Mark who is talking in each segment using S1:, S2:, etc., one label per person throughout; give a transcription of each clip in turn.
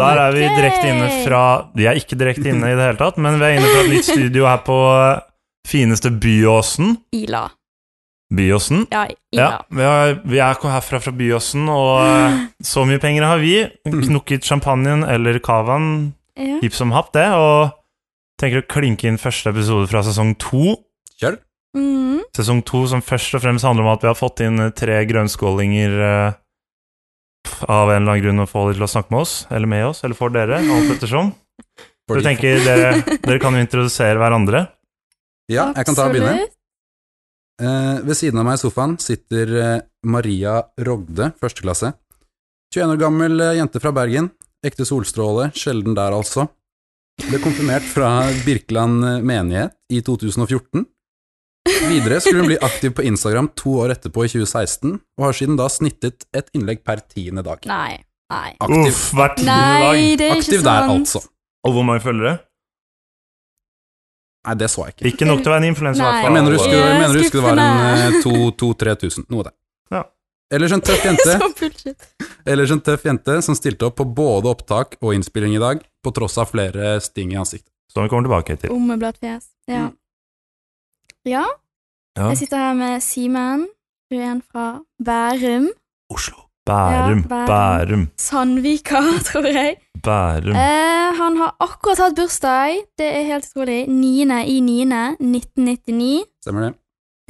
S1: der er vi direkte inne fra Vi er ikke direkte inne i det hele tatt, men vi er inne fra et nytt studio her på eh, fineste Byåsen.
S2: Ila.
S1: Byåsen.
S2: Ja, Ila.
S1: Ja, vi er, vi er herfra fra Byåsen, og eh, så mye penger har vi. Knukket champagnen eller cavaen,
S2: Ja.
S1: hipp som happ, det, og tenker å klinke inn første episode fra sesong to.
S3: Kjør.
S2: Mm.
S1: Sesong to som først og fremst handler om at vi har fått inn eh, tre grønnskålinger eh, pff, av en eller annen grunn å få dem til å snakke med oss, eller med oss, eller for dere, alt ettersom. For
S3: Fordi-
S1: jeg tenker dere, dere kan jo introdusere hverandre.
S3: ja, jeg kan ta og begynne.
S2: Absolutt.
S3: Eh, ved siden av meg i sofaen sitter eh, Maria Rogde, førsteklasse. 21 år gammel eh, jente fra Bergen. Ekte solstråle, sjelden der altså. Ble konfirmert fra Birkeland eh, menighet i 2014. Videre skulle hun bli aktiv på Instagram to år etterpå, i 2016, og har siden da snittet et innlegg per tiende dag.
S2: Nei. Nei.
S3: Aktiv,
S1: Uff, hver tiende dag.
S2: Nei, det er ikke sånn
S3: aktiv
S2: sant.
S3: der, altså.
S1: Og hvor mange følgere?
S3: Nei, det så jeg ikke.
S1: Ikke nok til å være en influenser, i
S2: Nei.
S1: hvert
S3: Jeg
S1: fall.
S3: mener du skulle, jeg mener du skulle være en eh,
S2: Skuffende.
S3: 2000-3000, noe der.
S1: Ja.
S3: Ellers en tøff jente.
S2: Så bullshit.
S3: Ellers en tøff jente som stilte opp på både opptak og innspilling i dag, på tross av flere sting i ansiktet.
S1: Som vi kommer tilbake til.
S2: Ommeblatt fjes. Ja.
S3: Mm.
S2: ja.
S1: Ja.
S2: Jeg sitter her med Simen. Du er en fra Bærum.
S1: Oslo. Bærum,
S2: Ja,
S1: Bærum,
S2: Sandvika, tror jeg.
S1: Bærum.
S2: Eh, han har akkurat hatt bursdag. Det er helt utrolig. 9. i 9. 1999.
S3: Stemmer det?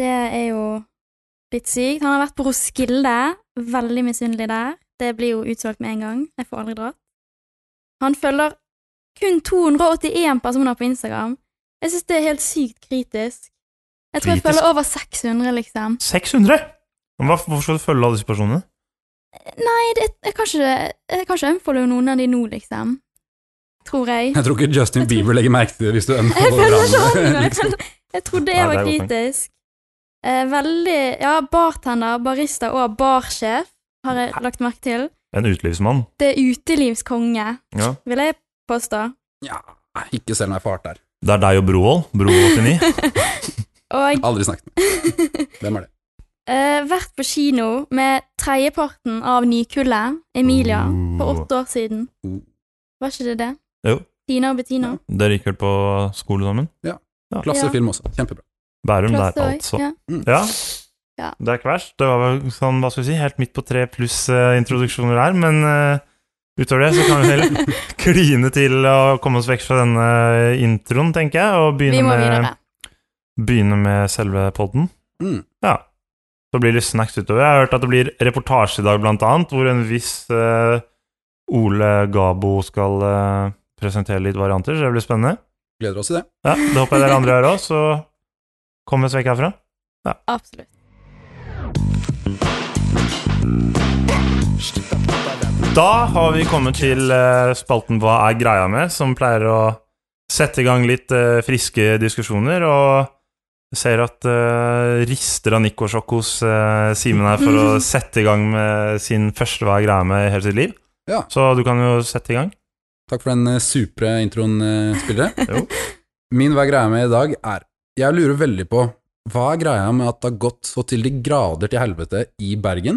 S2: Det er jo litt sykt. Han har vært på Roskilde. Veldig misunnelig der. Det blir jo utsolgt med en gang. Jeg får aldri dratt. Han følger kun 281 personer på Instagram. Jeg syns det er helt sykt kritisk. Jeg tror jeg
S1: Kritisk?
S2: følger over 600, liksom.
S1: 600! Men hva- Hvorfor skal du følge alle disse personene?
S2: Nei, det, jeg kan ikke Jeg kan ikke unfollowe noen av de nå, liksom. Tror jeg.
S3: Jeg tror ikke Justin
S2: Jeg tror-
S3: Bieber legger merke til det hvis du
S2: Jeg føler
S3: unfollower
S2: ikke han
S3: ham.
S2: engang. Jeg føler- sånn. Jeg trodde jeg
S1: Nei,
S2: var
S1: det er godt
S2: kritisk. Eh, veldig Ja, bartender, barista og barsjef har jeg lagt merke til.
S1: En utelivsmann.
S2: Det er utelivskonge,
S1: Ja.
S2: vil jeg påstå.
S3: Ja, ikke selv om jeg er fart der.
S1: Det er deg og Brovold. Brovold 89.
S2: Og
S3: Aldri snakket med. Hvem er det?
S2: eh, vært på kino med tredjeparten av nykullet, Emilia, for åtte år siden.
S3: Oh.
S2: Var ikke det det?
S1: Jo.
S2: Tina og Bettina.
S1: Dere gikk vel på skole sammen?
S2: Ja.
S3: Klassefilm også. Kjempebra.
S1: Bærum der,
S2: Klasse også,
S1: altså.
S2: Ja.
S1: Ja.
S2: Ja.
S1: Det er ikke verst. Det var vel sånn, hva skal vi si, helt midt på tre pluss eh, introduksjoner her, men eh, utover det så kan vi vel kline til å komme oss vekk fra denne eh, introen, tenker jeg, og
S2: Vi
S1: begynne,
S2: må
S1: med,
S2: videre.
S1: begynne med selve podden.
S3: Mm.
S1: Ja. Så blir det snacks utover. Jeg har hørt at det blir reportasje i dag, blant annet, hvor en viss eh, Ole Gabo skal eh, presentere litt varianter, så det blir spennende.
S3: Gleder oss til det.
S1: Ja, det håper jeg dere andre gjør òg, så kom oss vekk herfra. eh,
S2: Absolutt.
S1: Da har vi kommet til eh, spalten Hva er greia med?, som pleier å sette i gang litt eh, friske diskusjoner. Og ser at eh, rister av Nikosjokk hos eh, Simen her for å sette i gang med sin første Hva er greia med i hele sitt liv.
S3: Ja.
S1: Så du kan jo sette i gang.
S3: Takk for den eh, supre introen, eh, spillere.
S1: Jo.
S3: Min hva er greia med i dag er Jeg lurer veldig på hva er greia med at det har gått så til de grader til helvete i Bergen,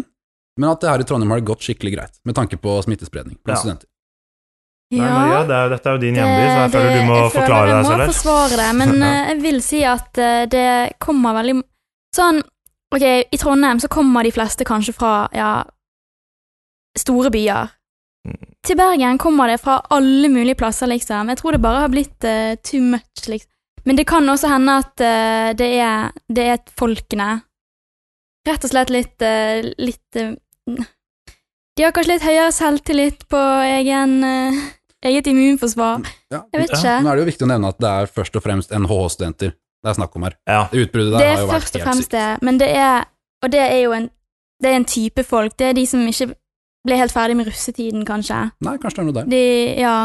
S3: men at det her i Trondheim har det gått skikkelig greit, med tanke på smittespredning
S1: Ja.
S3: blant studenter.
S1: Nei, Maria, det er, jo- dette er jo din hjemby, så jeg
S2: eh, Det-
S1: føler du må
S2: jeg føler
S1: forklare
S2: jeg
S1: deg selv
S2: må
S1: her.
S2: forsvare det, men
S1: Ja.
S2: eh, jeg vil si at eh, det kommer veldig Sånn, ok, i Trondheim så kommer de fleste kanskje fra, ja Store byer.
S1: Mm.
S2: Til Bergen kommer det fra alle mulige plasser, liksom. Jeg tror det bare har blitt eh, too much, liksom. Men det kan også hende at eh, det, er, det er folkene Rett og slett litt, eh, litt eh, De har kanskje litt høyere selvtillit på egen, eh, eget immunforsvar.
S3: Ja.
S2: Jeg vet
S1: Ja.
S2: ikke.
S3: Nå er det jo viktig å nevne at det er først og fremst NHH-studenter det er snakk om her.
S1: Ja.
S3: Det Utbruddet der
S2: Det
S3: har
S2: er
S3: jo vært
S2: først og
S3: helt
S2: fremst
S3: sykt.
S2: det, men det er Og det er jo en, det er en type folk. Det er de som ikke ble helt ferdig med russetiden, kanskje.
S3: Nei, kanskje det er noe der.
S2: De, ja.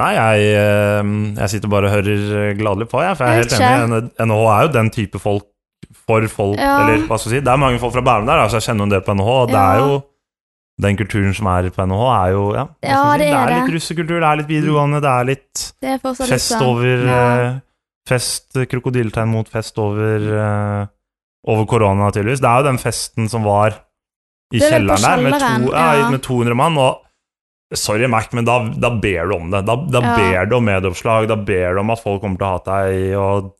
S1: Nei, jeg, eh, jeg sitter bare og hører eh, gladelig på, jeg, for jeg er helt
S2: Jeg
S1: enig. NHH er jo den type folk for folk,
S2: Ja.
S1: eller hva skal jeg si. Det er mange folk fra Bærum der, altså jeg kjenner en del på NHH, og det
S2: Ja.
S1: er jo den kulturen som er på NHH, er jo ja, hva skal
S2: Ja,
S1: jeg si,
S2: det er
S1: det er
S2: det.
S1: litt russekultur, det er litt videregående, det er litt
S2: Det er fortsatt
S1: fest
S2: litt sånn.
S1: over
S2: Ja.
S1: eh, Fest, krokodilletegn mot fest over eh, Over korona, naturligvis. Det er jo den festen som var i
S2: Det er vel på
S1: kjelleren der, med,
S2: kjelleren,
S1: to, ja,
S2: ja.
S1: med 200 mann, og Sorry, Mac, men da, da ber du om det. Da, da
S2: Ja.
S1: ber du om medieoppslag, da ber du om at folk kommer til å hate deg, og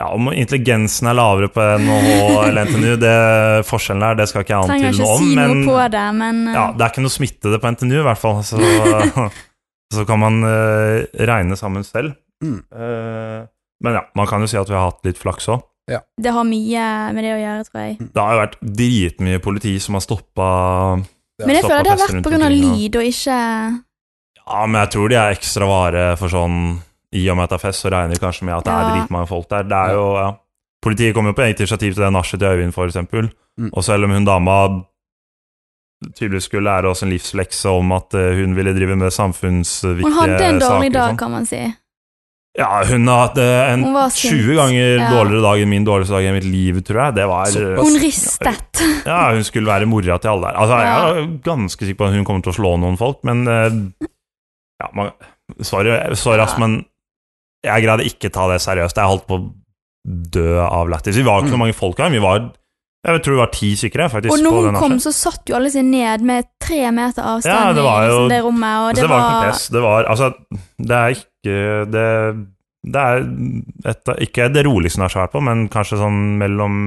S1: ja, om intelligensen er lavere på NHH eller NTNU, det forskjellen der, det skal ikke jeg
S2: Trenger
S1: antyde
S2: ikke
S1: noe om,
S2: si noe
S1: men
S2: på det, men eh,
S1: ja, det er ikke noe smitte det på NTNU i hvert fall, så, så kan man eh, regne sammen selv.
S3: Mm.
S1: Eh, men ja, man kan jo si at vi har hatt litt flaks òg.
S2: det har mye med det å gjøre, tror jeg.
S1: Det har jo vært dritmye politi som har stoppa
S3: Ja,
S2: Men jeg
S1: stopp
S2: føler
S1: og
S2: det har
S1: fest
S2: vært
S1: rundt
S2: pga.
S1: omkring, ja.
S2: lyd og ikke
S1: Ja, men jeg tror de er ekstra vare for sånn I og med at det er fest, så regner de kanskje med at det er
S2: Ja.
S1: dritmange folk der. Det er jo, ja Politiet kom jo på eget initiativ til det nachet til Øyvind, for eksempel.
S3: Mm.
S1: Og selv om hun dama tydeligvis skulle lære oss en livslekse om at eh, hun ville drive med samfunnsviktige
S2: Hun
S1: saker
S2: hadde en dårlig
S1: og
S2: dag,
S1: sånn.
S2: kan man si.
S1: Ja, hun har hatt eh, en
S2: Hun var sint.
S1: 20 ganger
S2: Ja.
S1: dårligere dag enn min dårligste dag i mitt liv, tror jeg. Det var eh,
S3: Såpass.
S2: Hun ristet.
S1: ja, hun skulle være mora til alle der. Altså,
S2: Ja.
S1: Jeg er ganske sikker på at hun kommer til å slå noen folk, men eh, ja, man, Sorry, sorry ass,
S2: Ja.
S1: men jeg greide ikke ta det seriøst. Jeg holdt på å dø av lættis. Vi var ikke så mange folk her. Vi var, jeg tror vi var ti stykker, jeg, faktisk.
S2: Mm. Og når
S1: på
S2: hun
S1: den
S2: kom,
S1: nachspiel.
S2: så satt jo alle seg ned med tre meter
S1: Ja,
S2: avstand
S1: det var
S2: i
S1: jo-
S2: liksom, det rommet, og
S1: Altså,
S2: det,
S1: det var ikke noe
S2: var
S1: press. Det var Altså, det er ikke Det, det er et, av- ikke det roligste hun har vært på, men kanskje sånn mellom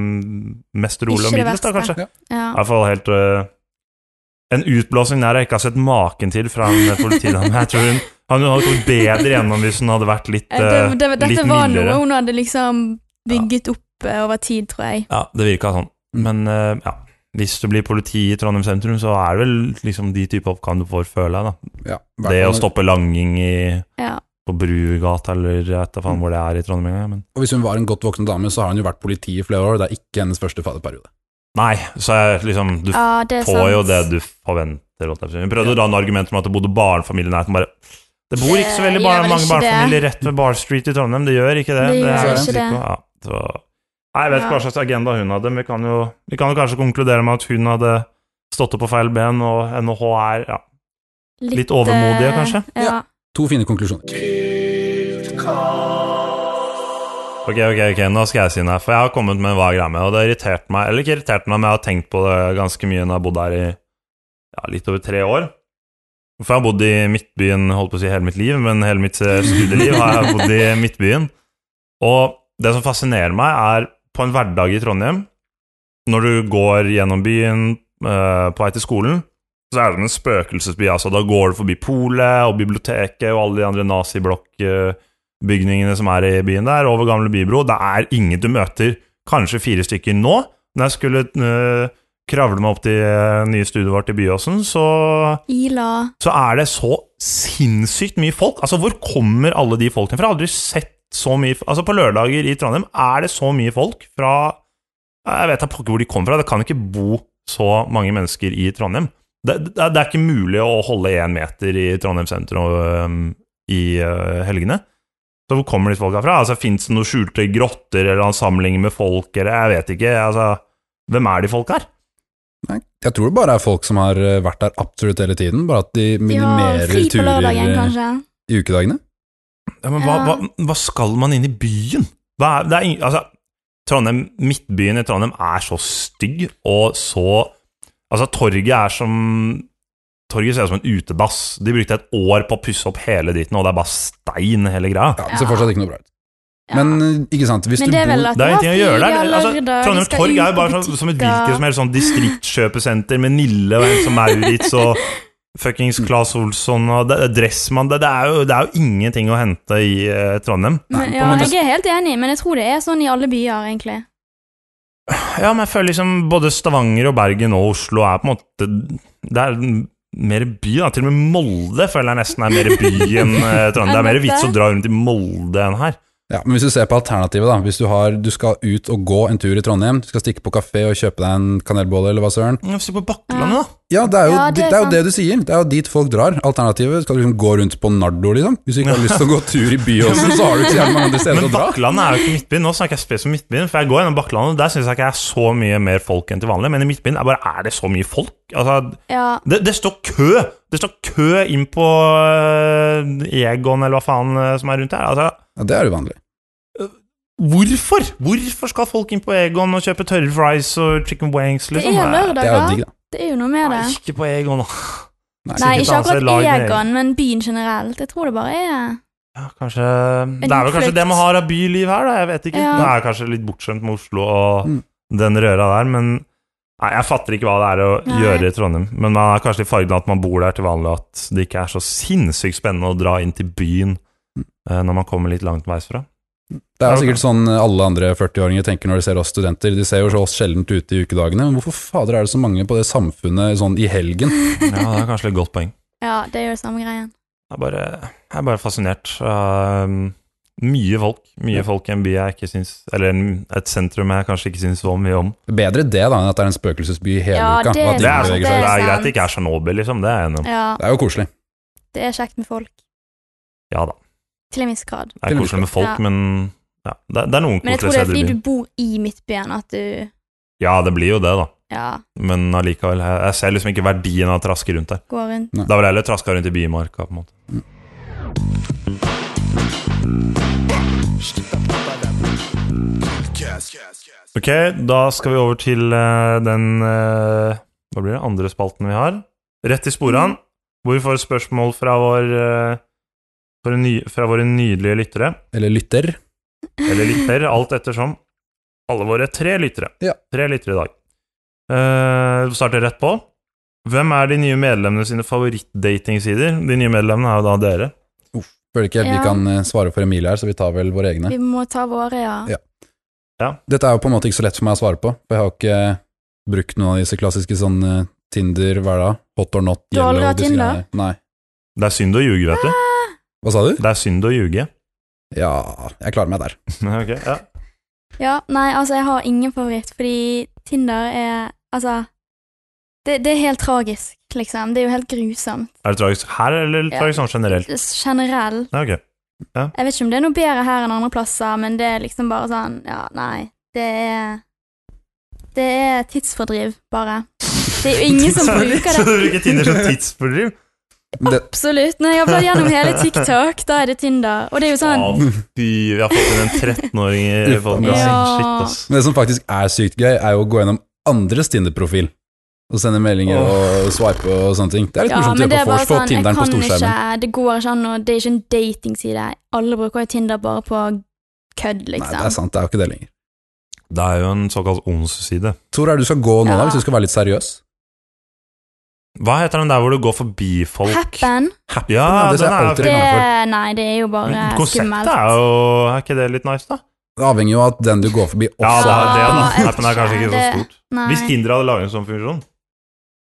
S1: mest rolig
S2: Ikke
S1: og
S2: det
S1: middels, da,
S2: verste.
S1: kanskje.
S2: ja.
S1: I hvert fall helt øh, En utblåsning der jeg ikke har sett maken til fra en øh, politidame. Jeg tror hun, han hadde kommet bedre gjennom hvis hun hadde vært litt,
S2: Eh, det,
S1: øh,
S2: det, Dette
S1: litt
S2: var
S1: mildere.
S2: noe hun hadde liksom bygget opp eh, over tid, tror jeg.
S1: Ja, det virka sånn. Men øh, ja, hvis du blir politi i Trondheim sentrum, så er det vel liksom de type oppgaver du får, føler jeg.
S3: Ja,
S1: da Det å stoppe langing i,
S2: Ja.
S1: på Brugata eller jeg vet da faen hvor det er i Trondheim. engang, Men
S3: Og hvis hun var en godt voksen dame, så har hun jo vært politi i flere år. Det er ikke hennes første faderperiode.
S1: nei, så jeg, liksom Du
S2: Ja, det er
S1: får
S2: sant.
S1: jo det du forventer. holdt jeg på å si. Vi prøvde å dra en argument om at det bodde barnefamilier nært. men Bare, det bor ikke så veldig
S2: Det
S1: bar
S2: gjør vel
S1: mange
S2: Eh, ikke det.
S1: barnefamilier rett ved Bar Street i Trondheim. Det gjør ikke det.
S2: Det
S1: er
S2: gjør
S1: jeg
S3: ikke
S1: sikker
S2: det.
S1: på. Ja, så. Nei, Jeg vet ikke
S2: Ja.
S1: hva slags agenda hun hadde, men vi kan, jo, vi kan jo kanskje konkludere med at hun hadde stått opp på feil ben, og NHH er ja, litt overmodige,
S2: eh,
S1: kanskje?
S2: Ja.
S3: To fine konklusjoner.
S1: Ok, ok, ok, nå skal jeg si noe, for jeg har kommet med hva jeg greier med, og det har irritert meg, eller ikke irritert meg, men jeg har tenkt på det ganske mye når jeg har bodd her i ja, litt over tre år. For jeg har bodd i Midtbyen, holdt på å si hele mitt liv, men hele mitt eh, studieliv har jeg bodd i Midtbyen. Og det som fascinerer meg er, på en hverdag i Trondheim, når du går gjennom byen eh, på vei til skolen, så er det en spøkelsesby, altså. Da går du forbi polet og biblioteket og alle de andre naziblokk... eh, bygningene som er i byen der, over gamle bybro. Det er ingen du møter, kanskje fire stykker nå. Når jeg skulle øh, kravle meg opp til øh, nye studioet vårt i Byåsen, så,
S2: Ila.
S1: så er det så sinnssykt mye folk. Altså, hvor kommer alle de folkene fra? Jeg har aldri sett så mye Altså, på lørdager i Trondheim er det så mye folk fra Jeg vet da pokker hvor de kommer fra. Det kan ikke bo så mange mennesker i Trondheim. Det, det, det er ikke mulig å holde én meter i Trondheim sentrum øhm, i øh, helgene. Så hvor kommer disse folka fra? Altså, Fins det noen skjulte grotter eller en samling med folk, eller jeg vet ikke. altså, Hvem er de folka her?
S3: Nei, jeg tror det bare er folk som har eh, vært der absolutt hele tiden, bare at de
S2: Ja,
S3: minimerer
S2: fri på
S3: turer
S2: lørdagen,
S3: eh,
S2: kanskje.
S3: i ukedagene.
S1: Ja, men hva,
S2: Ja.
S1: hva, hva skal man inn i byen? Hva er, det er ing- altså, Trondheim, Midtbyen i Trondheim er så stygg, og så Altså, torget er som Torget ser ut som en utedass. De brukte et år på å pusse opp hele dritten, og det er bare stein hele greia.
S3: Ja, det ser fortsatt ikke noe bra ut.
S2: Ja.
S3: Men eh, ikke sant, hvis
S2: Men
S3: du
S2: det er vel
S3: bor
S2: at
S1: Det er
S2: var
S1: ingenting å gjøre der.
S2: fri, ja,
S1: Altså,
S2: lørdag,
S1: Trondheim
S2: vi skal
S1: Torg
S2: ut
S1: er jo
S2: på
S1: bare sånn, som et
S2: butikker.
S1: hvilket som helst sånn distriktskjøpesenter med Nille og en som Maurits og fuckings Claes Olsson og det, det, Dressmann det, det, er jo, det er jo ingenting å hente i eh, Trondheim.
S2: Men,
S3: Nei,
S2: ja,
S1: men det-
S2: jeg er helt enig, men jeg tror det er sånn i alle byer, egentlig.
S1: Ja, men jeg føler liksom både Stavanger og Bergen og Oslo er på en måte Det er mer by, da. Til og med Molde føler jeg nesten er mer by enn eh, Trondheim. Det er mer vits å dra rundt i Molde enn her.
S3: Ja, men hvis du ser på alternativet, da. Hvis du, har, du skal ut og gå en tur i Trondheim, du skal stikke på kafé og kjøpe deg en kanelbolle eller hva søren.
S1: Ja, Se på Bakklandet, da.
S3: Ja, det er jo,
S2: Ja,
S3: det,
S2: det er
S3: er jo
S2: sant.
S3: det du sier. Det er jo dit folk drar. Alternativet skal du liksom gå rundt på Nardo, liksom. Hvis du ikke har lyst til å gå tur i Byåsen, så har du ikke så jævlig mange andre steder
S1: Men
S3: å dra.
S1: Bakklandet er jo ikke Midtbyen. Nå snakker jeg spesielt om Midtbyen, for jeg går gjennom Bakklandet, og der syns jeg ikke jeg er så mye mer folk enn til vanlig. Men i Midtbyen er, bare, er det så mye folk? Altså,
S2: Ja,
S1: det, det står kø! Det står kø inn på øh, Egon, eller hva faen øh, som er rundt her. Altså,
S3: Ja, det er uvanlig.
S1: hvorfor? Hvorfor skal folk inn på Egon og kjøpe tørre fries og chicken wings,
S2: det
S1: liksom?
S2: er
S1: Nei,
S2: lørdag,
S3: Det er jo
S2: da.
S3: digg, da.
S2: Det er jo noe med
S1: nei,
S2: det.
S1: Ikke på Egon, da.
S2: Nei,
S3: Nei,
S1: sikkert
S2: ikke
S1: annet sted,
S2: akkurat
S1: lag med egen-
S2: Egon, men byen generelt. Jeg tror det bare er
S1: Ja, kanskje Det er vel kanskje
S2: flukt.
S1: det man har av byliv her, da. Jeg vet ikke.
S2: Ja.
S1: Nå er jeg kanskje litt bortskjemt med Oslo og
S3: Mm.
S1: den røra der, men Nei, jeg fatter ikke hva det er å
S2: Nei.
S1: gjøre i Trondheim. Men man er kanskje litt fargen av at man bor der til vanlig, og at det ikke er så sinnssykt spennende å dra inn til byen eh, når man kommer litt langt veisfra.
S3: Det er jo sikkert sånn alle andre 40-åringer tenker når de ser oss studenter. De ser jo så oss sjeldent ute i ukedagene, men hvorfor fader er det så mange på det samfunnet sånn i helgen?
S1: Ja, det er kanskje litt godt poeng.
S2: Ja, det er jo det samme greien.
S1: Jeg er bare, jeg er bare fascinert. Um, mye folk. Mye folk i en by jeg ikke syns Eller en, et sentrum jeg kanskje ikke syns så mye om.
S3: Bedre det da enn at det er en spøkelsesby i hele
S2: Ja,
S3: uka.
S2: det
S3: og at
S1: Det
S3: ingen
S1: er,
S2: sant,
S1: sånn,
S3: beveger
S1: det
S3: seg.
S1: er
S2: sant.
S1: greit det ikke er Tsjernobyl, liksom. Det er jeg enig om.
S2: Ja,
S3: det er jo koselig.
S2: det er kjekt med folk.
S1: Ja da.
S2: Til en viss grad.
S1: Det er koselig med folk,
S2: Ja.
S1: men ja, det, det er noen
S2: Men jeg
S1: koselige
S2: tror det er
S1: steder i
S2: fordi
S1: byen.
S2: du bor i Midtbyen at du
S1: Ja, det blir jo det, da.
S2: ja,
S1: Men allikevel. Jeg, jeg ser liksom ikke verdien av å traske rundt der.
S2: går rundt.
S1: Da vil jeg heller traska rundt i Bymarka, på en måte. Ok, da skal vi over til eh, den eh, Hva blir det? Andre spalten vi har. Rett i sporene, hvor vi får spørsmål fra, vår, eh, fra, ny, fra våre nydelige lyttere.
S3: Eller lytter.
S1: Eller lytter, alt ettersom. Alle våre tre lyttere.
S3: Ja.
S1: Tre lyttere i dag. Eh, vi starter rett på. Hvem er de nye medlemmene sine favorittdatingsider? De nye medlemmene er jo da dere.
S3: Føler ikke helt
S2: Ja.
S3: vi kan eh, svare for Emilie her, så vi tar vel våre egne.
S2: Vi må ta våre, ja.
S3: Ja. Dette er jo på en måte ikke så lett for meg å svare på, for jeg har jo ikke brukt noen av disse klassiske sånn eh, Tinder, hva er det da? Hot or not,
S2: Du har aldri hatt
S3: disse
S2: Tinder?
S3: greiene. Nei.
S1: Det er synd å ljuge, vet du.
S3: Hva sa du?
S1: Det er synd å ljuge.
S3: Ja, jeg klarer meg der.
S1: Ok, ja.
S2: Ja, nei, altså, jeg har ingen favoritt, fordi Tinder er Altså, det, det er helt tragisk, liksom. Det er jo helt grusomt.
S1: Er det tragisk her, eller
S2: Ja.
S1: tragisk sånn generelt?
S2: Generell.
S1: Ja, ok.
S2: Jeg vet ikke om det er noe bedre her enn andre plasser, men det er liksom bare sånn Ja, nei. Det er Det er tidsfordriv, bare. Det er jo ingen som bruker
S1: Så du
S2: det.
S1: bruker Tinder som tidsfordriv?
S3: Det,
S2: Absolutt. Når jeg har bladd gjennom hele TikTok, da er det Tinder. Og det er jo sånn
S1: Å, fy, vi har fått inn en 13-åring i podkasten.
S2: Ja.
S1: Shit, ass.
S3: men det som faktisk er sykt gøy, er jo å gå gjennom andres Tinder-profil. Og sende meldinger og swipe og sånne ting. Det er litt
S2: Ja,
S3: morsomt å
S2: men det
S3: gjøre
S2: er
S3: på
S2: bare
S3: vors, få
S2: sånn Jeg
S3: Tinderen på
S2: kan ikke
S3: storskjermen.
S2: Det går ikke an å Det er ikke en datingside. Alle bruker jo Tinder bare på kødd,
S3: Nei, det er
S2: liksom.
S3: sant, det er jo ikke det lenger.
S1: Det er jo en såkalt onseside.
S3: Tor, er det du skal gå nå, da,
S2: Ja.
S3: hvis du skal være litt seriøs?
S1: Hva heter den der hvor du går forbi folk?
S2: Happen,
S1: Ja,
S3: Ja, det ser
S1: den
S3: jeg
S1: er
S3: alltid
S2: det
S3: reklame for.
S2: Nei, det er jo bare
S1: Men Konseptet
S2: skummelt.
S1: er jo Er ikke det litt nice, da?
S3: Det avhenger jo av at den du går forbi,
S1: Ja,
S3: også
S1: det er
S3: er
S1: det, da.
S2: Ja, jeg
S1: Appen er kanskje ikke så
S2: det-
S1: stort.
S2: Nei.
S1: Hvis Tinder hadde laget en sånn funksjon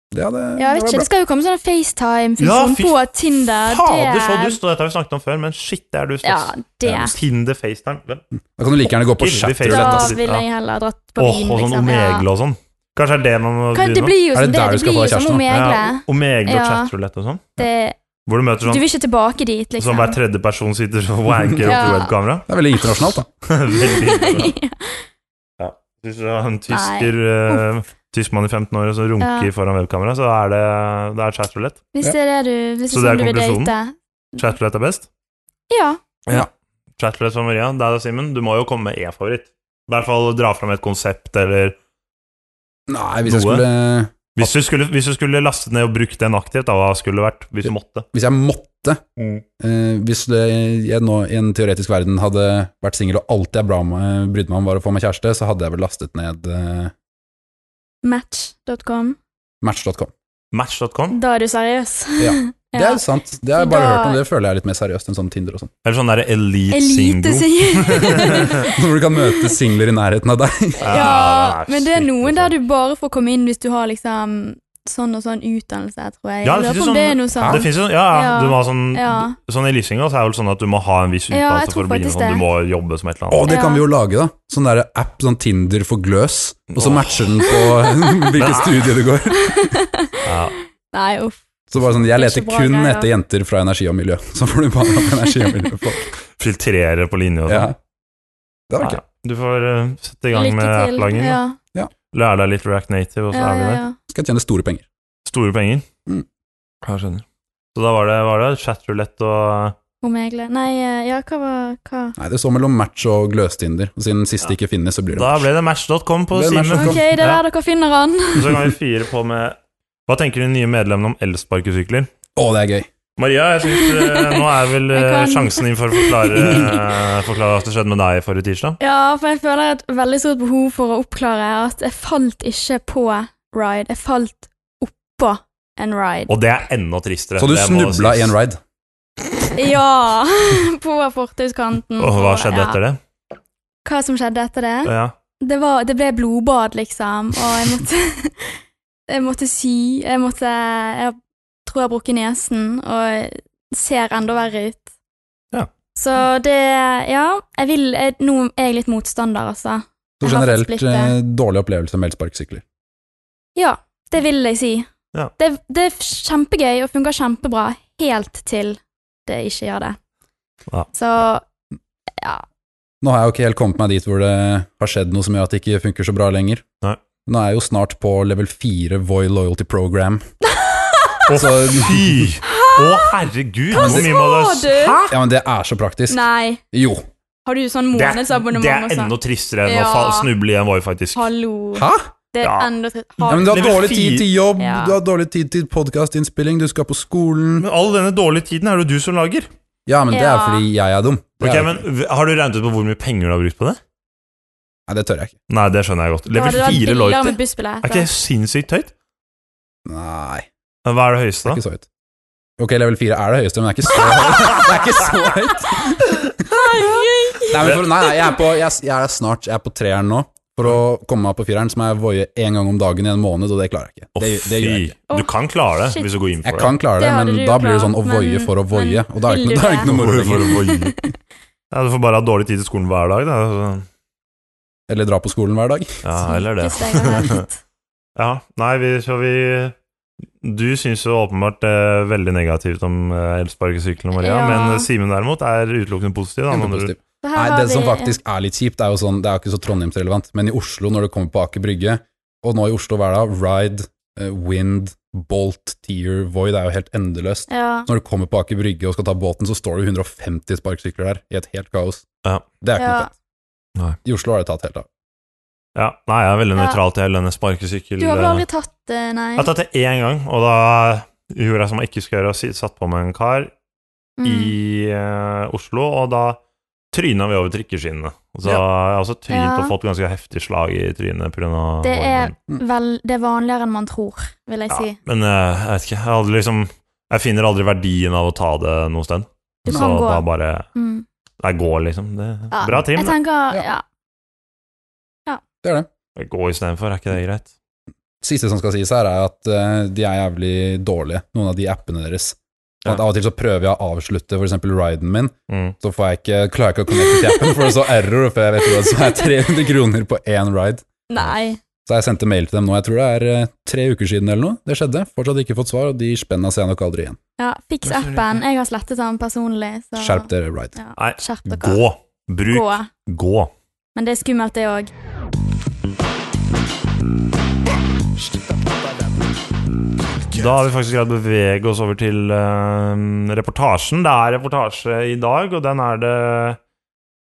S3: Ja, det,
S2: Ja, jeg vet
S3: det var
S2: ikke.
S3: bra.
S2: Det skal jo komme sånn
S1: Ja,
S2: FaceTime-funksjon
S1: fy
S2: på Tinder.
S1: Fader, så dust! Og dette har vi snakket om før, men shit, det er dust.
S2: Ja,
S1: ass.
S2: det.
S3: Ja,
S1: Tinder, FaceTime Hvem?
S3: Da kan du like gjerne gå på
S1: Ikke
S3: chat.
S1: det er
S2: Da
S1: lett,
S3: rulett, ass.
S1: altså.
S2: ville jeg heller dratt på
S1: Åh,
S2: byen,
S1: og sånn
S2: liksom. Ja.
S1: Omegle og sånn. Kanskje det er det man må
S2: Hva- Det blir jo
S3: Er det
S2: som det.
S3: der du
S2: Det
S3: skal
S2: blir
S3: få
S2: jo som
S3: kjæresten, da?
S2: Omegle.
S1: Ja, Omegle og
S2: Ja.
S1: chatroulette og sånn.
S2: Det-
S1: Hvor du møter
S2: Du
S1: sånn
S2: vil ikke tilbake dit, liksom.
S1: som hver tredje person sitter og wanker opp til
S2: Ja.
S1: webkamera.
S3: Det er veldig internasjonalt, da.
S1: Veldig bra. Hvis du har en tysker, eh, tysk mann i 15 år som runker
S2: Ja.
S1: foran webkamera, så er det, det er chatroulette.
S2: Hvis det er det du Hvis
S1: Så
S2: det er sånn
S1: det er
S2: du vil
S1: konklusjonen?
S2: date.
S1: Chatroulette er best.
S2: Ja.
S1: Chatless fra Maria, deg og Simen, du må jo komme med e-favoritt. I hvert fall dra fram et konsept, eller
S3: Nei, hvis jeg
S1: Noe.
S3: skulle
S1: Hvis du skulle, hvis du skulle lastet ned og brukt den aktivt, da, hva skulle det vært? Hvis du måtte.
S3: Hvis jeg måtte
S1: Mm.
S3: eh, Hvis det, jeg nå i en teoretisk verden hadde vært singel, og alt jeg bra med, brydde meg om var å få meg kjæreste, så hadde jeg vel lastet ned eh,
S2: Match.com.
S3: match.com.
S1: Match.com?
S2: Da er du seriøs.
S3: Ja. Det
S2: Ja.
S3: er sant. Det har jeg
S2: Så
S3: bare
S2: da-
S3: hørt om. Det føler jeg er litt mer seriøst enn sånn Tinder og sånn.
S1: Eller sånn derre Elite,
S2: Elite,
S1: Single.
S2: sier
S3: Hvor du kan møte singler i nærheten av deg.
S2: Ja, men det er noen der
S1: der
S2: du bare får komme inn hvis du har liksom sånn og sånn utdannelse, tror jeg.
S1: Ja,
S2: Jeg
S1: det
S2: lurer på om
S1: finnes jo
S2: det er noe
S1: sånn- Det
S2: sånt.
S1: finnes jo Ja, ja.
S2: Ja.
S1: Du må ha sånn,
S2: Ja.
S1: sånn I Lysinga så er det vel sånn at du må ha en viss
S2: Ja, jeg tror
S1: utdannelse for å begynne
S2: faktisk
S1: sånn.
S2: det.
S1: Du må jobbe som et eller
S3: Å,
S1: annet.
S3: det kan
S2: Ja.
S3: vi jo lage, da. Sånn derre app, sånn Tinder for gløs, og så
S1: Åh.
S3: matcher den på hvilket studie du går.
S1: Ja.
S2: Nei, uff.
S3: Så bare sånn, jeg
S2: Det er
S3: leter
S2: ikke bra
S3: kun
S2: greier, da.
S3: etter jenter fra energi og miljø. Så får du bare opp energi og miljø på.
S1: Filtrere på linje og
S3: Ja.
S1: sånn.
S3: Det var
S1: Ja,
S3: kult.
S1: Du får eh, sette i gang
S2: Lykke
S1: med
S2: til.
S1: app-laging.
S2: Ja,
S1: Lære deg litt React Native, og så
S2: ja,
S1: er vi
S2: ja,
S1: der.
S2: ja.
S3: Skal jeg tjene store penger.
S1: Store penger.
S3: Mm.
S1: Jeg skjønner. Så da var det, var det chatroulette og eh,
S2: Omegle. Nei, eh, ja, hva var hva?
S3: Nei, det står mellom match og gløstinder. Og siden siste ikke finnes, så blir det
S1: Da ble det match.com på
S3: Det er
S1: Simen.
S3: match.com.
S2: Ok, det er der dere finner han.
S1: Så kan vi fyre på med Hva tenker de nye medlemmene om elsparkesykler?
S3: Å, det er gøy.
S1: Maria, jeg synes, eh, nå er vel
S2: Jeg
S1: eh,
S2: kan.
S1: sjansen din for å forklare, eh, forklare hva som skjedde med deg forrige tirsdag.
S2: Ja, for jeg føler et veldig stort behov for å oppklare at jeg falt ikke på ride. Jeg falt oppå en ride.
S1: Og det er enda tristere.
S3: Så du
S1: det må
S3: snubla
S1: sies.
S3: i en ride.
S2: Ja! På fortauskanten.
S1: Og hva skjedde etter det?
S2: Hva som skjedde etter det?
S1: Ja.
S2: Det, var, det ble blodbad, liksom, og jeg måtte Jeg måtte sy. Jeg måtte Jeg tror jeg har brukket nesen, og ser enda verre ut.
S1: Ja.
S2: Så det Ja, jeg vil jeg, Nå er jeg litt motstander, altså.
S3: Så
S2: Jeg har
S3: generelt
S2: faktisk blitt det.
S3: eh, dårlig opplevelse med elsparkesykler.
S2: Ja, det vil jeg si.
S1: Ja.
S2: Det, det er kjempegøy og fungerer kjempebra helt til det ikke gjør det.
S1: Ja.
S2: Så
S3: Nå har jeg jo ikke helt kommet meg dit hvor det har skjedd noe som gjør at det ikke funker så bra lenger.
S1: Nei.
S3: Nå er jeg jo snart på level 4 Voi Loyalty Program.
S1: Å,
S3: Så-
S1: fy! Å, herregud! Hva
S2: sa du?
S1: Hæ?
S3: Ja, men det er så praktisk.
S2: altså, Ah! Nei.
S3: Jo.
S2: Har du sånn
S1: Det er, det
S2: månedsabonnement
S1: er
S2: også?
S1: enda tristere enn å
S2: Ja.
S1: fa- snuble i en Voi, faktisk.
S2: Hallo.
S3: Hæ?
S2: Det er
S1: Ja.
S2: enda tre...
S3: Ja, men du har
S1: Level
S3: dårlig
S1: fire-
S3: tid til jobb,
S2: Ja.
S3: du har dårlig tid til podkastinnspilling, du skal på skolen
S1: Men all denne dårlige tiden er det jo du som lager.
S3: Ja, men det er
S2: Ja.
S3: fordi jeg er dum. Det,
S1: Ok,
S3: er,
S1: men v- Har du regnet ut på hvor mye penger du har brukt på det?
S3: nei, det tør jeg ikke.
S1: Nei, det skjønner jeg godt.
S2: Da hadde
S1: Level
S2: det vært
S1: 4
S2: billigere med
S1: Loyalty.
S2: busspillet.
S1: Er ikke det sinnssykt høyt?
S3: Nei,
S1: Hva er det høyeste, da?
S3: ikke så høyt. Ok, level 4 er det høyeste, men det er ikke så høyt. Det er ikke så høyt. Nei, men for, nei, nei jeg, er på, jeg, jeg er snart jeg er på treeren nå. For å komme meg på fireren så må jeg voie én gang om dagen i en måned, og det klarer jeg ikke.
S1: Å,
S3: Det, det gjør jeg ikke.
S1: fy. Du kan klare det
S2: Shit.
S1: hvis du går inn for
S3: Jeg
S1: det.
S3: kan
S2: Det
S3: klare det,
S2: hadde
S3: men
S2: du
S3: da
S2: jo
S3: blir det sånn å
S2: klart,
S3: voie
S2: men-
S3: for å voie, og da er det
S2: vil
S3: ikke,
S2: du
S3: da er det ikke noe moro lenger.
S1: Ja, du får bare ha dårlig tid til skolen hver dag, da. så-
S3: Eller dra på skolen hver dag.
S1: Ja, eller det.
S2: Sykeste jeg har hørt.
S1: Ja, nei, vi, så vi Du syns jo åpenbart eh, veldig negativt om eh, elsparkesyklene, Maria.
S2: Ja.
S1: Men eh, Simen derimot er utelukkende positiv. Da, med andre ord.
S3: Kjempepositiv.
S2: Så her
S3: Nei,
S2: har
S3: det som
S2: vi-
S3: faktisk er litt kjipt, er jo sånn, det er jo ikke så Trondheimsrelevant, men i Oslo, når det kommer på Aker Brygge, og nå i Oslo hver dag, Ride, eh, Wind, Bolt, Tier, Voi, det er jo helt endeløst.
S2: Ja.
S3: Så når du kommer på Aker Brygge og skal ta båten, så står det 150 sparkesykler der, i et helt kaos.
S1: Ja.
S3: Det er ikke
S2: Ja.
S3: noe fett. I Oslo har det tatt helt av.
S1: ja, Nei, jeg er veldig
S2: Ja.
S1: nøytral til hele denne sparkesykkel...
S2: Du har vel
S1: eh,
S2: aldri tatt det, nei?
S1: Jeg har tatt det én gang, og da eh, gjorde jeg som jeg ikke skulle gjøre, og si- satt på meg en kar i
S2: Mm.
S1: eh, Oslo, og da tryna vi over trikkeskinnene. Og Så
S3: Ja.
S1: jeg har også trynt
S2: Ja.
S1: og fått ganske heftig slag i trynet pga.
S2: Det er
S3: Mm.
S2: vel det er vanligere enn man tror, vil jeg
S1: ja,
S2: si.
S1: Men eh, jeg vet ikke, jeg, har aldri liksom, jeg finner aldri verdien av å ta det noe sted.
S2: Du
S1: Så
S2: kan gå.
S1: da bare
S2: Mm.
S1: Jeg går, liksom. Det,
S2: Ja.
S1: Bra trim.
S2: Jeg tenker,
S3: Ja.
S2: ja.
S3: Det er det.
S1: da. Gå istedenfor, er ikke det greit?
S3: Siste som skal sies her, er at eh, de er jævlig dårlige, noen av de appene deres.
S1: Ja.
S3: At av og til så prøver jeg å avslutte for eksempel riden min,
S1: Mm.
S3: så får jeg ikke, klarer jeg ikke å connecte til appen, for det er så error, for jeg vet jo at det er 300 kroner på én ride.
S2: Nei.
S3: Så jeg sendte mail til dem nå, jeg tror det er eh, tre uker siden eller noe. Det skjedde, fortsatt ikke fått svar, og de spenna ser jeg nok aldri igjen.
S2: Ja, fiks
S1: Men så er det
S2: appen.
S1: ikke-
S2: Jeg har slettet den personlig. Så.
S3: Skjerp dere, right.
S2: Ja.
S1: Nei,
S2: Skjerp dere.
S1: gå! Bruk
S2: Gå.
S1: gå.
S2: Men det er skummelt, det òg.
S1: Da har vi faktisk greid å bevege oss over til eh, reportasjen. Det er reportasje i dag, og den er det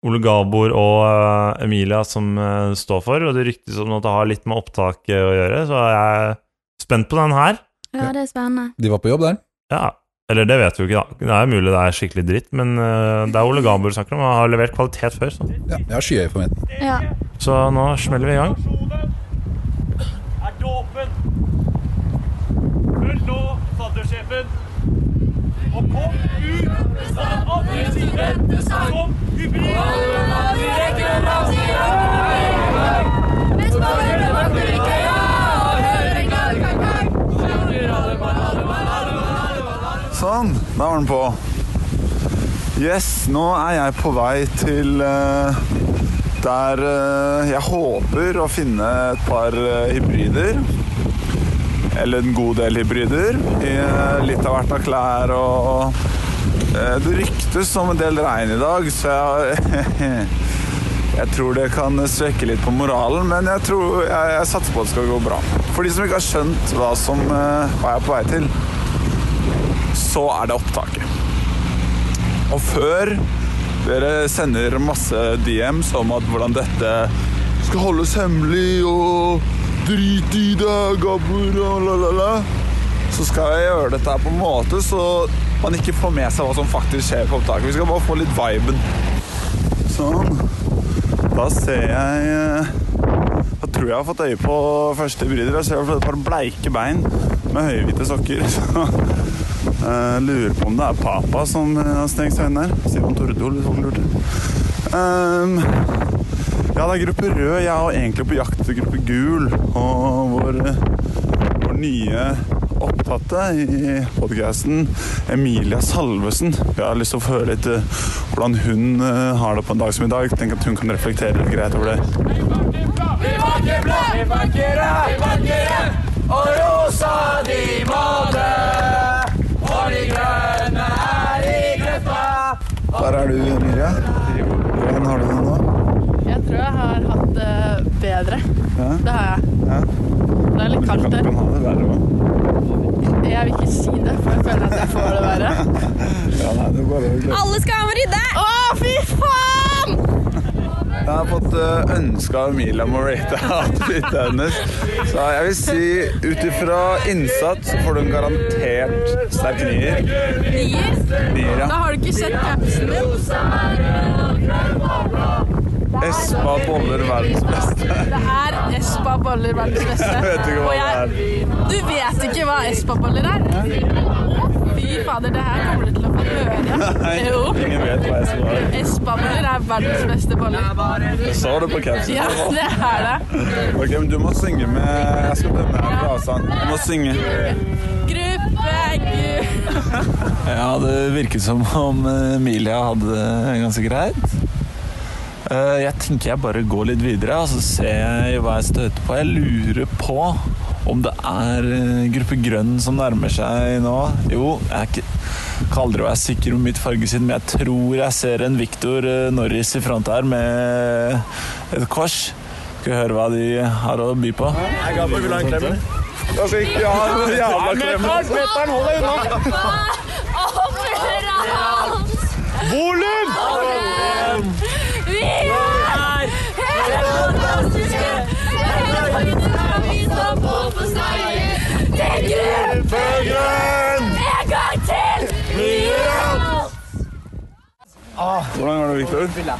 S1: Ole Gabor og eh, Emilia som eh, står for. Og det ryktes om at det har litt med opptaket å gjøre, så jeg er spent på den her.
S2: Ja, det er spennende.
S3: De var på jobb der.
S1: Ja, Eller det vet vi jo ikke, da. Det er mulig det er skikkelig dritt, men eh, det er Ole Gabor snakker om. Han har levert kvalitet før, så,
S3: Ja, jeg har skyhøye forventninger.
S2: Ja.
S1: så nå smeller vi i gang.
S4: Er dåpen. Følg nå faddersjefen. Og kom ut på den andre siden som hybrid.
S5: Sånn, da var den på. Yes, nå er jeg på vei til eh, der eh, jeg håper å finne et par eh, hybrider. Eller en god del hybrider. I eh, litt av hvert av klær og eh, Det ryktes om en del regn i dag, så jeg Jeg tror det kan svekke litt på moralen, men jeg tror jeg, jeg satser på at det skal gå bra. For de som ikke har skjønt hva som eh, hva jeg er på vei til, så er det opptaket. Og før dere sender masse DMs om at hvordan dette skal holdes hemmelig og drit i det, gabber og la la la, så skal jeg gjøre dette her på en måte så man ikke får med seg hva som faktisk skjer på opptaket. Vi skal bare få litt viben. Sånn. Da ser jeg eh, Da tror jeg jeg har fått øye på første bryter. Jeg ser i hvert fall et par bleike bein med høyhvite sokker. Så eh, lurer på om det er Papa som eh, har stengt seg inn der. Simon Tordol, hvis folk lurte. Ehm, ja, det er gruppe rød. Jeg er jo egentlig på jakt etter gruppe gul. Og vår, eh, vår nye opptatte i podcasten, Emilia Salvesen. Jeg har lyst til å få høre litt eh, hvordan hun eh, har det på en dag som i dag. Tenk at hun kan reflektere litt greit over det. Der er du, Emilia. Hvordan har du det nå?
S6: Jeg tror jeg har hatt det bedre.
S5: Ja.
S6: Det har jeg.
S5: Ja.
S6: Det er litt kaldt
S5: Kan,
S6: der.
S5: kan ha det verre også.
S6: Jeg vil ikke si det, for jeg føler at jeg får det verre.
S5: Ja, nei, det går over.
S2: Alle skal rydde!
S6: Å, fy faen!
S5: Jeg har fått eh, ønske av Emilia om å rate outfitet hennes. Så jeg vil si ut ifra innsats så får du en garantert sterk nier. Nier, ja.
S6: har du ikke sett capsen din.
S5: Espa boller verdens beste.
S6: Det er Espa-boller verdens beste.
S5: Jeg vet ikke hva
S6: Og jeg- Du vet ikke hva Espa-boller er? Å, Fy fader, det her kommer du til å få
S5: Nei,
S6: høre. Jo.
S5: ingen vet hva Espa er.
S6: Espa-boller er verdens beste boller.
S5: Så er det på capsen.
S6: Ja, det er det.
S5: Ok, men du må synge med Jeg skal dømme deg på avstand. Du må synge.
S6: Gruppe gud.
S5: Ja, det virket som om Emilia hadde det ganske greit. Eh, Jeg tenker jeg bare går litt videre, og så ser jeg hva jeg støter på. Jeg lurer på om det er eh, gruppe grønn som nærmer seg nå. Jo, jeg er ikke, kan aldri være sikker på mitt fargesyn, men jeg tror jeg ser en Victor eh, Norris i front her med et kors. Skal vi høre hva de har å by på? Jeg ga på Ulan Klemmen. Altså, ikke ja, jævla altså. Klemmen. Mutter'n, hold deg unna! Volum! Ah. Hvordan går det, Victor?
S7: Jeg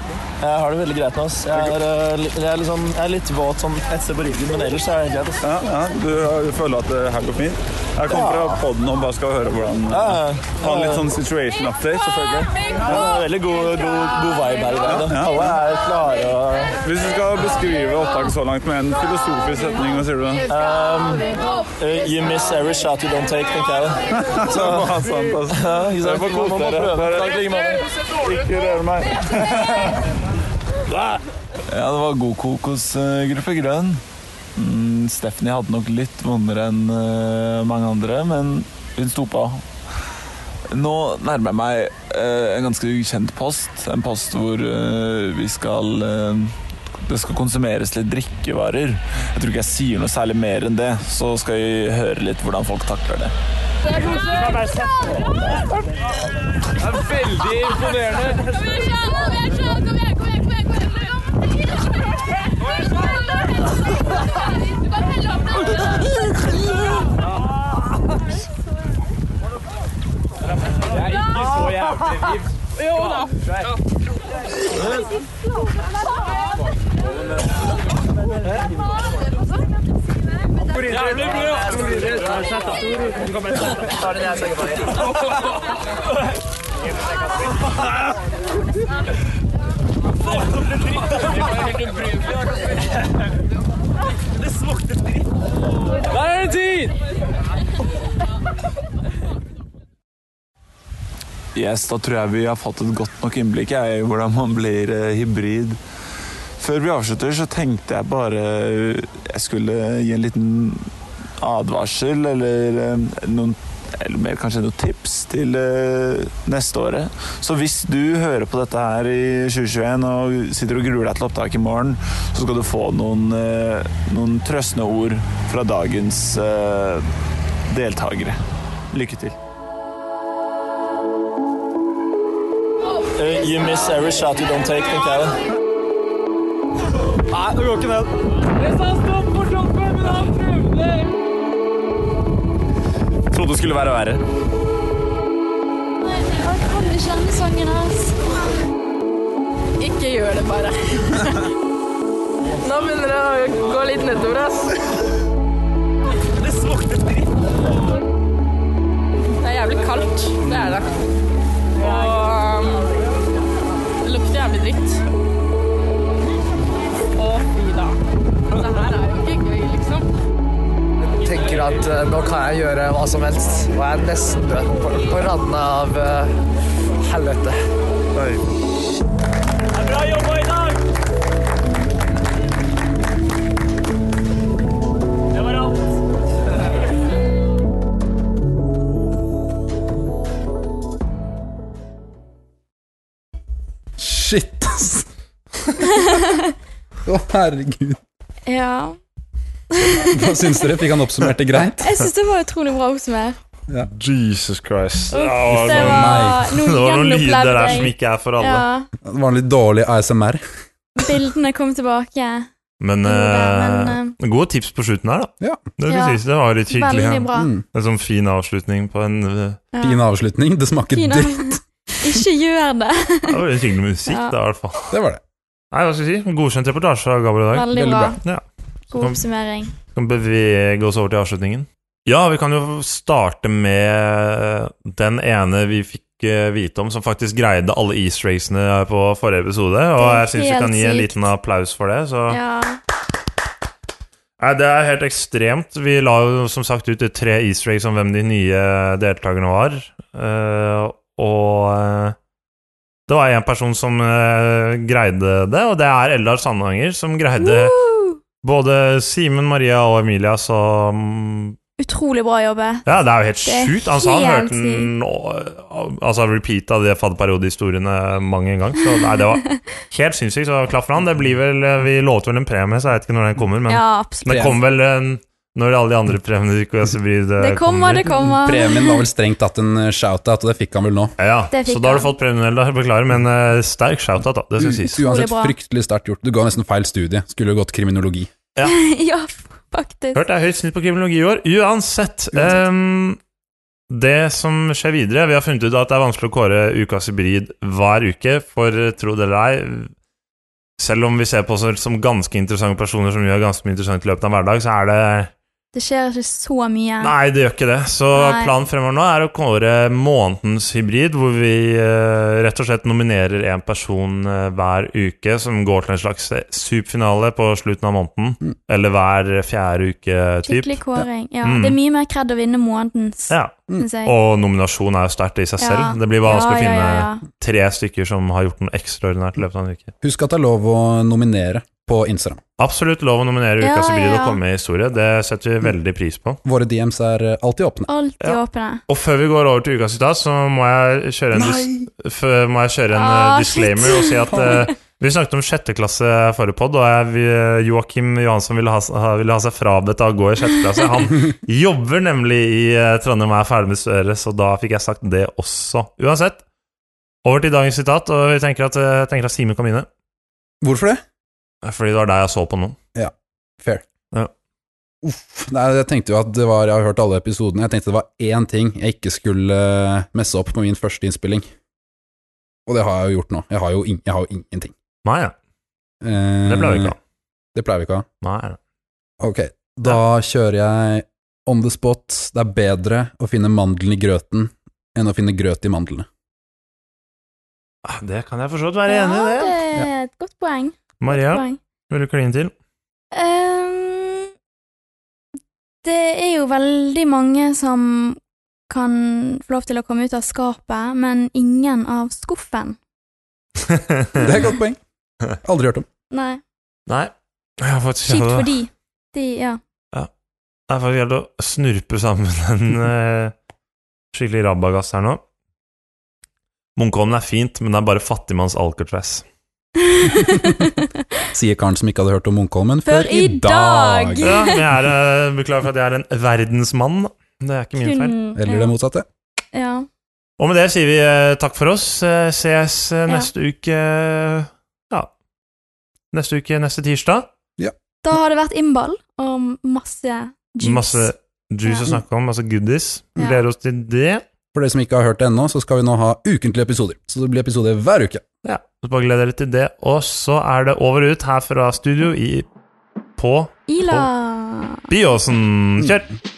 S7: har det veldig greit nå. ass. Jeg er, eh, li- jeg er, litt, sånn, jeg er litt våt sånn etter på ryggen, men ellers er det greit. altså. ass.
S5: Ja, ja, du har- føler at det her går fint? Jeg kommer fra poden og bare skal høre hvordan
S7: Ja,
S5: Ha en litt sånn situation update, selvfølgelig.
S7: ja, det er veldig god, god, god vibe her i dag. da.
S5: Ja.
S7: Alle er klare og
S5: Hvis du skal beskrive opptaket så langt med en filosofisk setning, hva sier du da?
S7: eh, You miss every shot you don't take, tenker jeg. da.
S5: Så, ja, sant, altså.
S7: Ja, ikke sant?
S5: Jeg får kose
S7: Man må
S5: dere.
S7: prøve.
S5: Dere-
S7: Takk i like måte.
S5: Ikke rør meg. Ja, det var god kokos eh, gruppe grønn. Mm, Stephanie hadde nok litt vondere enn eh, mange andre, men hun sto på. Nå nærmer jeg meg eh, en ganske ukjent post. En post hvor eh, vi skal eh, det skal konsumeres litt drikkevarer. Jeg tror ikke jeg sier noe særlig mer enn det. Så skal vi høre litt hvordan folk takler det. Yes, da tror jeg vi har fått et godt nok innblikk jeg, i hvordan man blir eh, hybrid. Før vi avslutter, så tenkte jeg bare eh, jeg skulle gi en liten advarsel, eller eh, noen eller mer kanskje noen tips til eh, neste året. Så hvis du hører på dette her i 2021 og sitter og gruer deg til opptak i morgen, så skal du få noen, eh, noen trøstende ord fra dagens eh, deltakere. Lykke til.
S7: Eh, You miss every shot you don't take, tenker jeg. da.
S5: Nei, det går ikke ned.
S8: trodde det skulle være verre.
S2: Jeg kan ikke denne sangen hans.
S6: Ikke gjør det bare. Nå begynner det å gå litt nedover, ass. Det er jævlig kaldt. Det er det. Og um, det lukter jævlig dritt. Å, fy da. Det her er jo ikke gøy, liksom.
S9: tenker at eh, nå kan jeg gjøre hva som helst. Og jeg er nesten død på, på randen av eh, helvete.
S4: Det er bra jobba i dag! Det var alt.
S3: Shit, ass! Å, herregud.
S2: Ja.
S3: Hva syns dere? Fikk han oppsummert det greit?
S2: Jeg syns det var utrolig bra oppsummert.
S8: Jesus Christ.
S1: Det var,
S2: Det var
S1: det
S2: noe
S1: var noen lyder der som
S2: gjenopplevd.
S1: ikke er for alle.
S2: Ja.
S3: Det var en litt dårlig ASMR.
S2: Bildene kom tilbake.
S1: Men,
S2: Jo da,
S1: eh,
S2: men,
S1: gode tips på slutten her, da.
S3: Ja.
S1: Det, skal
S2: Ja.
S1: sies, det var litt hyggelig.
S2: Veldig
S1: Ja.
S2: bra.
S3: Mm.
S1: En sånn fin avslutning på en eh,
S2: Ja.
S3: Fin avslutning. Det smaker
S2: Fin
S3: dritt.
S2: av- Ikke gjør det.
S1: Det var litt hyggelig musikk,
S2: Ja.
S1: da, i hvert fall.
S3: Det var det.
S1: Nei, hva skal jeg si? Godkjent reportasje av Gabriel i dag.
S2: Veldig
S3: veldig
S2: bra.
S3: bra.
S1: Ja.
S2: God oppsummering.
S1: kan bevege oss over til avslutningen. Ja, vi kan jo starte med den ene vi fikk eh, vite om, som faktisk greide alle East Racene på forrige episode. Og
S2: Det er
S1: jeg syns vi
S2: helt
S1: kan gi en
S2: sykt.
S1: liten applaus for det. Så.
S2: Ja.
S1: Nei, det er helt ekstremt. Vi la jo som sagt ut tre East Race om hvem de nye deltakerne var. Eh, og eh, det var en person som eh, greide det, og det er Eldar Sandanger som greide
S2: Woo!
S1: både Simen, Maria og Emilia som
S2: Utrolig bra jobbet.
S1: Ja, det er jo helt
S2: Det er
S1: sjukt. Altså, han
S2: helt
S1: hørte den og- altså, repeat av de fadderperiodehistoriene mang en gang. Så nei, det var helt sinnssykt. Så klapp for han. Det blir vel, eh, vi lovte vel en premie, så jeg vet ikke når den kommer. Men
S2: Ja, absolutt.
S1: det kommer vel en, når alle de andre premiene til KS Hybrid eh,
S2: Det kommer, det kommer.
S3: Premien var vel strengt tatt en eh, shout-out, og det fikk han vel nå.
S1: Ja,
S2: Det fikk
S1: så da har du
S2: han.
S1: fått premien, Eldar. Beklager, men eh, sterk shout-out, da. Det skal sies.
S2: Utrolig
S3: Uansett,
S2: bra.
S3: fryktelig sterkt gjort. Du ga nesten feil studie. Skulle jo gått kriminologi.
S2: Ja, faktisk.
S1: Hørt det er høyt snitt på kriminologi i år. Uansett. ehm, det som skjer videre Vi har funnet ut at det er vanskelig å kåre ukas hybrid hver uke, for eh, tro det eller ei Selv om vi ser på oss selv som ganske interessante personer som gjør ganske mye interessant i løpet av en hverdag, så er det
S2: Det skjer ikke så mye.
S1: Nei, det gjør ikke det. Så
S2: Nei.
S1: planen fremover nå er å kåre månedens hybrid, hvor vi eh, rett og slett nominerer én person eh, hver uke som går til en slags eh, superfinale på slutten av måneden.
S3: Mm.
S1: Eller hver fjerde uke, typ.
S2: Skikkelig kåring. Ja,
S1: Mm.
S2: Det er mye mer kred å vinne månedens,
S1: Ja.
S2: syns jeg.
S1: Og nominasjon er jo sterkt i seg
S2: Ja.
S1: selv. Det blir bare
S2: ja,
S1: vanskelig å finne
S2: ja, ja.
S1: tre stykker som har gjort noe ekstraordinært i løpet av en uke.
S3: Husk at det er lov å nominere på Instagram.
S1: Absolutt lov å nominere
S2: Ja,
S1: Ukas hybrid
S2: ja, ja.
S1: og komme med i historie. Det setter vi veldig pris på.
S3: Våre DMs er eh, alltid åpne.
S2: Alltid
S1: Ja.
S2: åpne.
S1: Og før vi går over til ukas sitat, så må jeg kjøre en, dis før må jeg kjøre en
S2: Ah,
S1: eh, disclaimer og si at eh, vi snakket om sjette klasse forrige podd, og jeg, vi- eh, Joakim Johansson ville ha, ha- ville ha seg frabedt av å gå i sjette klasse. Han jobber nemlig i eh, Trondheim og er ferdig med studiet, så da fikk jeg sagt det også. Uansett, over til dagens sitat, og vi tenker at, eh, tenker at Simen kan begynne.
S3: Hvorfor det?
S1: Fordi det var deg jeg så på nå.
S3: Nei, jeg tenkte jo at det var Jeg har hørt alle episodene. Jeg tenkte det var én ting jeg ikke skulle eh, messe opp på min første innspilling. Og det har jeg jo gjort nå. Jeg har jo, ing- jeg har jo ingenting.
S1: Nei, ja.
S3: Eh,
S1: det ble vi ikke av.
S3: Det pleier vi ikke å ha.
S1: Nei, ja.
S3: Ok, da kjører jeg on the spot. Det er bedre å finne mandelen i grøten enn å finne grøt i mandlene.
S1: Ah, Det kan jeg for så vidt være enig i,
S2: Ja,
S1: det.
S2: det er et godt poeng.
S1: Maria,
S2: poeng.
S1: vil du kline til?
S2: Ehm, det er jo veldig mange som kan få lov til å komme ut av skapet, men ingen av skuffen. Mm.
S3: Det er et godt poeng. Aldri hørt om.
S2: Nei,
S1: Nei. Jeg har faktisk
S2: kjipt for de. De, ja.
S1: Det er faktisk helt å snurpe sammen en eh, skikkelig rabagass her nå. Munkholmen er fint, men det er bare fattigmanns Alcatraz.
S3: Sier karen som ikke hadde hørt om Munkholmen
S2: Før i dag!
S1: Ja, men jeg er, eh, beklager for at jeg er en verdensmann. da. Det er ikke min feil.
S2: Kun-
S3: Eller det motsatte.
S2: Ja.
S1: Og med det sier vi eh, takk for oss. Eh, ses eh,
S2: Ja.
S1: neste uke Ja. Neste uke, neste tirsdag.
S2: Da har det vært innball og masse juice.
S1: Masse Juice å snakke om, altså goodies. Vi gleder oss til det.
S3: For dere som ikke har hørt det ennå, så skal vi nå ha ukentlige episoder. Så det blir episoder hver uke.
S1: Ja, så bare gleder dere til det. Og så er det over og ut her fra studio i, på
S2: Ila!
S1: Byåsen. Kjør!